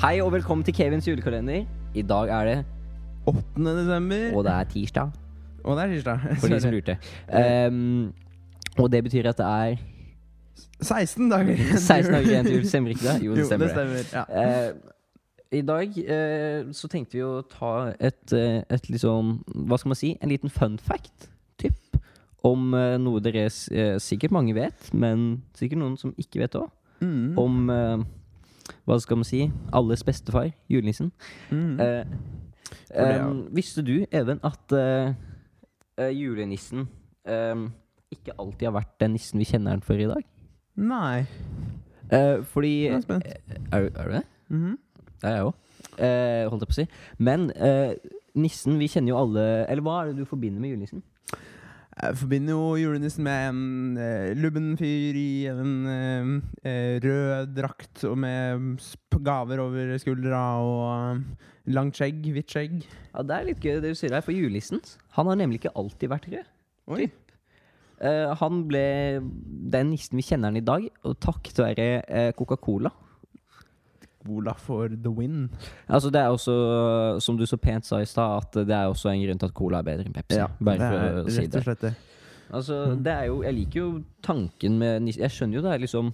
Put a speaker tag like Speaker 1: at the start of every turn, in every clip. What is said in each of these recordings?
Speaker 1: Hei og velkommen til Kevins julekalender. I dag er det
Speaker 2: 8. desember.
Speaker 1: Og det er tirsdag,
Speaker 2: Og det er tirsdag.
Speaker 1: for de som lurte. Um, og det betyr at det er
Speaker 2: 16 dager igjen til
Speaker 1: 16 dager
Speaker 2: jul.
Speaker 1: igjen til jul. Stemmer ikke det? Jo, det stemmer. det.
Speaker 2: Ja.
Speaker 1: Eh, I dag eh, så tenkte vi å ta et, eh, et liksom Hva skal man si? En liten fun fact. Typ. Om eh, noe dere s- eh, sikkert mange vet, men sikkert noen som ikke vet òg.
Speaker 2: Mm.
Speaker 1: Om eh, hva skal man si? Alles bestefar, julenissen.
Speaker 2: Mm.
Speaker 1: Eh,
Speaker 2: For det,
Speaker 1: em, visste du, Even, at eh, eh, julenissen em, ikke alltid har vært den nissen vi kjenner den for i dag?
Speaker 2: Nei.
Speaker 1: Eh, fordi
Speaker 2: Jeg er spent.
Speaker 1: Er, du- er du det?
Speaker 2: Mhm.
Speaker 1: Det er jeg òg. holdt jeg på å si. Men eh, nissen, vi kjenner jo alle Eller hva er det du forbinder med julenissen?
Speaker 2: Jeg forbinder jo julenissen med en eh, lubben fyr i en eh, eh, rød drakt og med mm, sp- gaver over skuldra og eh, langt skjegg, hvitt skjegg.
Speaker 1: Ja, Det er litt gøy det du sier her, for julenissen Han har nemlig ikke alltid vært rød.
Speaker 2: Oi.
Speaker 1: Eh, han ble den nissen vi kjenner han i dag, og takket være eh, Coca-Cola.
Speaker 2: Cola for the win.
Speaker 1: Altså det er også, som du så pent sa i stad, at det er også en grunn til at cola er bedre enn Pepsi.
Speaker 2: det
Speaker 1: bare
Speaker 2: er
Speaker 1: for å si
Speaker 2: rett og
Speaker 1: det.
Speaker 2: slett Mm. det.
Speaker 1: Altså, det er jo, jeg liker jo tanken med nissen. Jeg skjønner jo det er liksom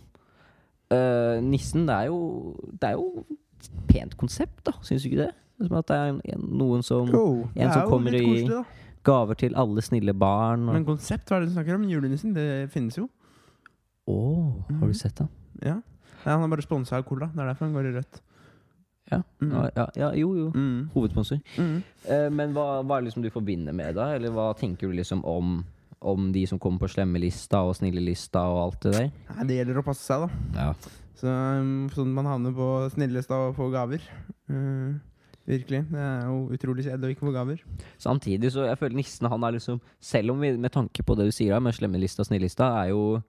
Speaker 1: øh, Nissen, det er jo Det er jo et pent konsept, da. Syns du ikke det? Som at det er en, en, noen som
Speaker 2: Jo, det
Speaker 1: en som
Speaker 2: er jo
Speaker 1: kommer
Speaker 2: litt
Speaker 1: i-
Speaker 2: koselig, da.
Speaker 1: gaver til alle snille barn. Og,
Speaker 2: Men konsept, hva er det du snakker om? Julenissen, det finnes jo.
Speaker 1: Å, har
Speaker 2: Mm.
Speaker 1: du sett den?
Speaker 2: Ja. Nei, han er bare sponsa av Cola. Det er derfor han går i rødt.
Speaker 1: Ja.
Speaker 2: Mm.
Speaker 1: Ja, ja, ja, jo, jo.
Speaker 2: Mm.
Speaker 1: Hovedsponsor.
Speaker 2: Mm.
Speaker 1: Eh, men hva, hva er det liksom du forbinder med da? Eller hva tenker du liksom om, om de som kommer på slemmelista og snillelista og alt det der?
Speaker 2: Nei, det gjelder å passe seg, da.
Speaker 1: Ja.
Speaker 2: Så, um, sånn at man havner på snillesta og får gaver. Eh, virkelig. Det er jo utrolig kjedelig å ikke få gaver.
Speaker 1: Samtidig så jeg føler nissen han er liksom Selv om vi med tanke på det du sier da med slemmelista og snillista, er jo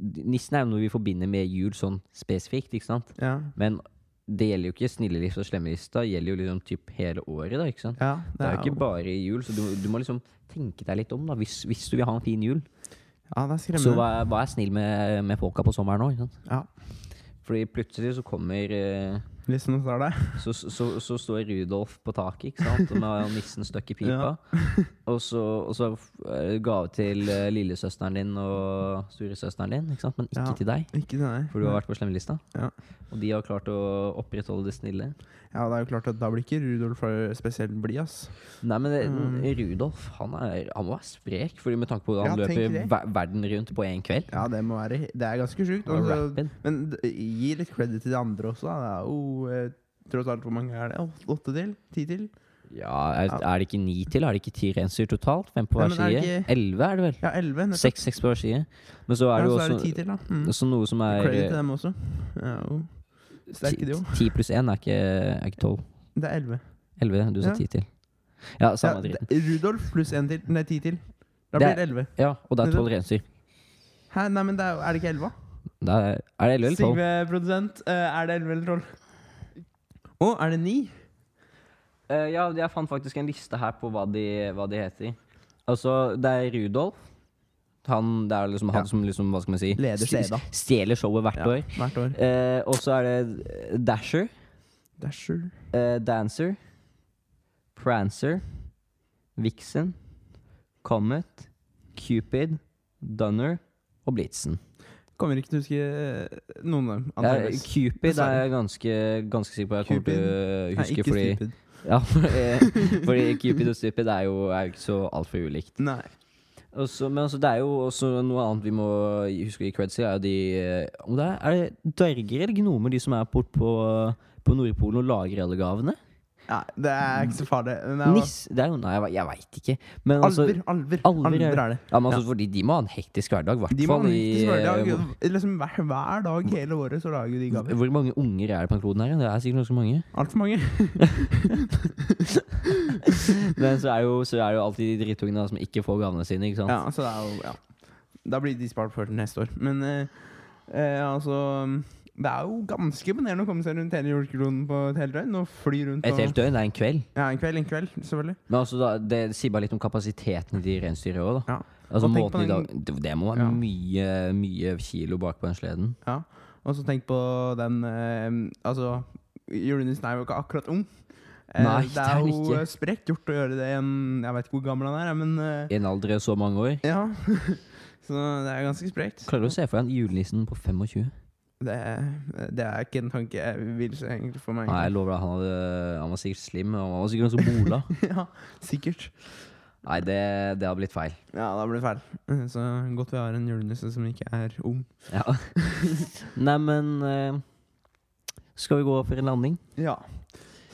Speaker 1: Nissen er jo noe vi forbinder med jul sånn spesifikt, ikke sant?
Speaker 2: Ja.
Speaker 1: Men det gjelder jo ikke snillelista og slemmelista, det gjelder jo liksom typ hele året, da, ikke sant?
Speaker 2: ja
Speaker 1: Det er jo ikke bare i jul, så du, du må liksom tenke deg litt om, da. Hvis, hvis du vil ha en fin jul,
Speaker 2: Ja, det er
Speaker 1: så
Speaker 2: skremmende.
Speaker 1: vær, vær snill med, med folka på sommeren òg, ikke sant?
Speaker 2: Ja.
Speaker 1: Fordi plutselig så kommer eh,
Speaker 2: Hvis noen tar deg.
Speaker 1: så, så, så står Rudolf på taket, ikke sant? Og med nissen støkk i pipa. Og så, og så er det gave til eh, lillesøsteren din og storesøsteren din, ikke sant? men ikke
Speaker 2: Ja.
Speaker 1: til deg.
Speaker 2: Ikke til deg.
Speaker 1: For du har vært på slemmelista.
Speaker 2: Ja.
Speaker 1: Og de har klart å opprettholde det snille.
Speaker 2: Ja, det er jo klart at da blir ikke Rudolf eh, spesielt blid, ass.
Speaker 1: Nei, men det,
Speaker 2: Mm.
Speaker 1: Rudolf han, er, han må være sprek, Fordi med tanke på at han
Speaker 2: Ja, tenk
Speaker 1: løper
Speaker 2: det.
Speaker 1: ver verden rundt på én kveld.
Speaker 2: Ja, det må være Det er ganske sjukt.
Speaker 1: Og
Speaker 2: altså.
Speaker 1: rapid.
Speaker 2: men d- gi litt credit til de andre også. Da. Det er jo eh, tross alt hvor mange er det? Åt- Åtte til? Ti til?
Speaker 1: Ja, er, er det ikke ni til? Er det ikke ti renser totalt? Fem på
Speaker 2: Nei,
Speaker 1: hver
Speaker 2: men er det
Speaker 1: side? Elleve er det vel?
Speaker 2: Ja, elleve. nettopp.
Speaker 1: Seks seks på hver side. Men så
Speaker 2: Ja,
Speaker 1: er det jo
Speaker 2: så er det ti
Speaker 1: også,
Speaker 2: til, da. Mm.
Speaker 1: også noe som er
Speaker 2: Credit
Speaker 1: eh,
Speaker 2: til dem også. Ja, jo. Sterke de òg.
Speaker 1: 10 pluss 1 er ikke, er ikke 12.
Speaker 2: Det er elleve.
Speaker 1: 11, du sa
Speaker 2: Ja.
Speaker 1: 10 til. Ja,
Speaker 2: Ja,
Speaker 1: samme dritten.
Speaker 2: det- Rudolf pluss en til. Nei, ti til. Da
Speaker 1: Det
Speaker 2: blir
Speaker 1: er-
Speaker 2: det elleve.
Speaker 1: Ja, og det er 12 renser.
Speaker 2: Hæ, nei, men det er, jo- er det ikke elleve?
Speaker 1: Da er er det 11 eller 12?
Speaker 2: Sigve, produsent. eh, er det elleve eller tolv? Å, er det ni?
Speaker 1: Eh, ja, jeg fant faktisk en liste her på hva de, hva de heter. Altså, det er Rudolf. Han, det er liksom han
Speaker 2: Ja.
Speaker 1: som liksom, hva skal man si
Speaker 2: Leder
Speaker 1: st-
Speaker 2: seda.
Speaker 1: Stjeler showet hvert år.
Speaker 2: Hvert år.
Speaker 1: Eh, og så er det eh, Dasher,
Speaker 2: Dasher.
Speaker 1: eh, Dancer, Prancer, Vixen, Comet, Cupid, Dunner og Blitzen.
Speaker 2: Kommer ikke til å huske eh, noen av dem.
Speaker 1: Ja,
Speaker 2: antageligvis.
Speaker 1: Cupid er
Speaker 2: Dessverre.
Speaker 1: jeg ganske, ganske sikker på at jeg kommer
Speaker 2: Cupid?
Speaker 1: til å
Speaker 2: Nei,
Speaker 1: huske.
Speaker 2: ikke
Speaker 1: fordi,
Speaker 2: stupid.
Speaker 1: ja, fordi, fordi Cupid og Stupid er jo, er jo ikke så altfor ulikt.
Speaker 2: Nei.
Speaker 1: Også, men altså, det er jo også noe annet vi må huske å gi creds til. Er, jo de, eh, om det er, er det dverger eller gnomer, de som er bort på, på Nordpolen og lager alle gavene?
Speaker 2: Nei, det er ikke så farlig. Men det er-
Speaker 1: Niss? Det er jo, nei, jeg, vet- jeg veit ikke. Men altså,
Speaker 2: Alver, alver,
Speaker 1: Alver
Speaker 2: alver,
Speaker 1: er-
Speaker 2: er det.
Speaker 1: ja, men altså fordi de må ha en hektisk hverdag,
Speaker 2: De
Speaker 1: hvertfall
Speaker 2: må ha en
Speaker 1: i
Speaker 2: riktig
Speaker 1: eh,
Speaker 2: hverdag. Liksom hver, hver dag hele året så lager de gaver.
Speaker 1: hvor- Hvor mange unger er det på den kloden her? Det er sikkert ganske mange.
Speaker 2: Altfor mange.
Speaker 1: Men så er jo, så er jo alltid de drittungene da, som ikke får gavene sine. ikke sant?
Speaker 2: Ja, så det er jo ja. Da blir de spart for til neste år. Men eh, eh, altså Det er jo ganske imponerende å komme seg rundt hele jordkloden på et helt døgn. Og fly rundt
Speaker 1: Et
Speaker 2: og
Speaker 1: helt døgn er en kveld.
Speaker 2: Ja, en kveld, en kveld, selvfølgelig.
Speaker 1: Men altså da, det sier bare litt om kapasiteten i de reinsdyra òg, da.
Speaker 2: Ja.
Speaker 1: Altså
Speaker 2: Og tenk på
Speaker 1: måten i dag,
Speaker 2: den-
Speaker 1: det, det må være
Speaker 2: Ja.
Speaker 1: mye, mye kilo bak på den sleden.
Speaker 2: Og så tenk på den eh, Altså julenissen er jo ikke akkurat ung. Eh,
Speaker 1: Nei,
Speaker 2: det er
Speaker 1: det er han
Speaker 2: jo
Speaker 1: ikke.
Speaker 2: eh, sprekt gjort å gjøre det i en Jeg vet ikke hvor gammel han er, men eh,
Speaker 1: I en alder av så mange år.
Speaker 2: ja. Så det er ganske sprekt.
Speaker 1: Klarer du å se for deg en julenissen på 25?
Speaker 2: Det, det er ikke en tanke jeg vil se egentlig for meg.
Speaker 1: Nei, jeg lover deg, han, hadde, han var sikkert slim. og Han var sikkert ganske bola.
Speaker 2: ja, sikkert.
Speaker 1: Nei, det, det har blitt feil.
Speaker 2: Ja, da blir det feil. Eh, Så godt vi har en julenisse som ikke er ung.
Speaker 1: Ja. Neimen eh, Skal vi gå for en landing?
Speaker 2: Ja.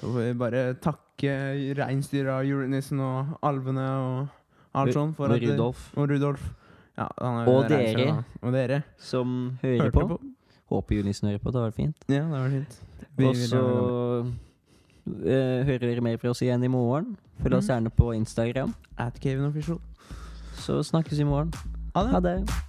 Speaker 2: Så får vi bare takke reinsdyra, julenissen og alvene og alt sånn. for
Speaker 1: Med
Speaker 2: at-
Speaker 1: Rudolf,
Speaker 2: Og Rudolf. Ja, han er jo
Speaker 1: Og
Speaker 2: en reinsdyr,
Speaker 1: dere.
Speaker 2: da. Og dere.
Speaker 1: som hører på. Håper julenissen hører på. Det hadde vært fint.
Speaker 2: Ja, det var fint. Vi
Speaker 1: Og
Speaker 2: vil
Speaker 1: så
Speaker 2: gjerne det.
Speaker 1: eh, hører dere mer fra oss igjen i morgen. Følg oss
Speaker 2: Mm.
Speaker 1: gjerne på Instagram.
Speaker 2: At Caven Official.
Speaker 1: Så snakkes i morgen.
Speaker 2: Ha det.
Speaker 1: Ha det.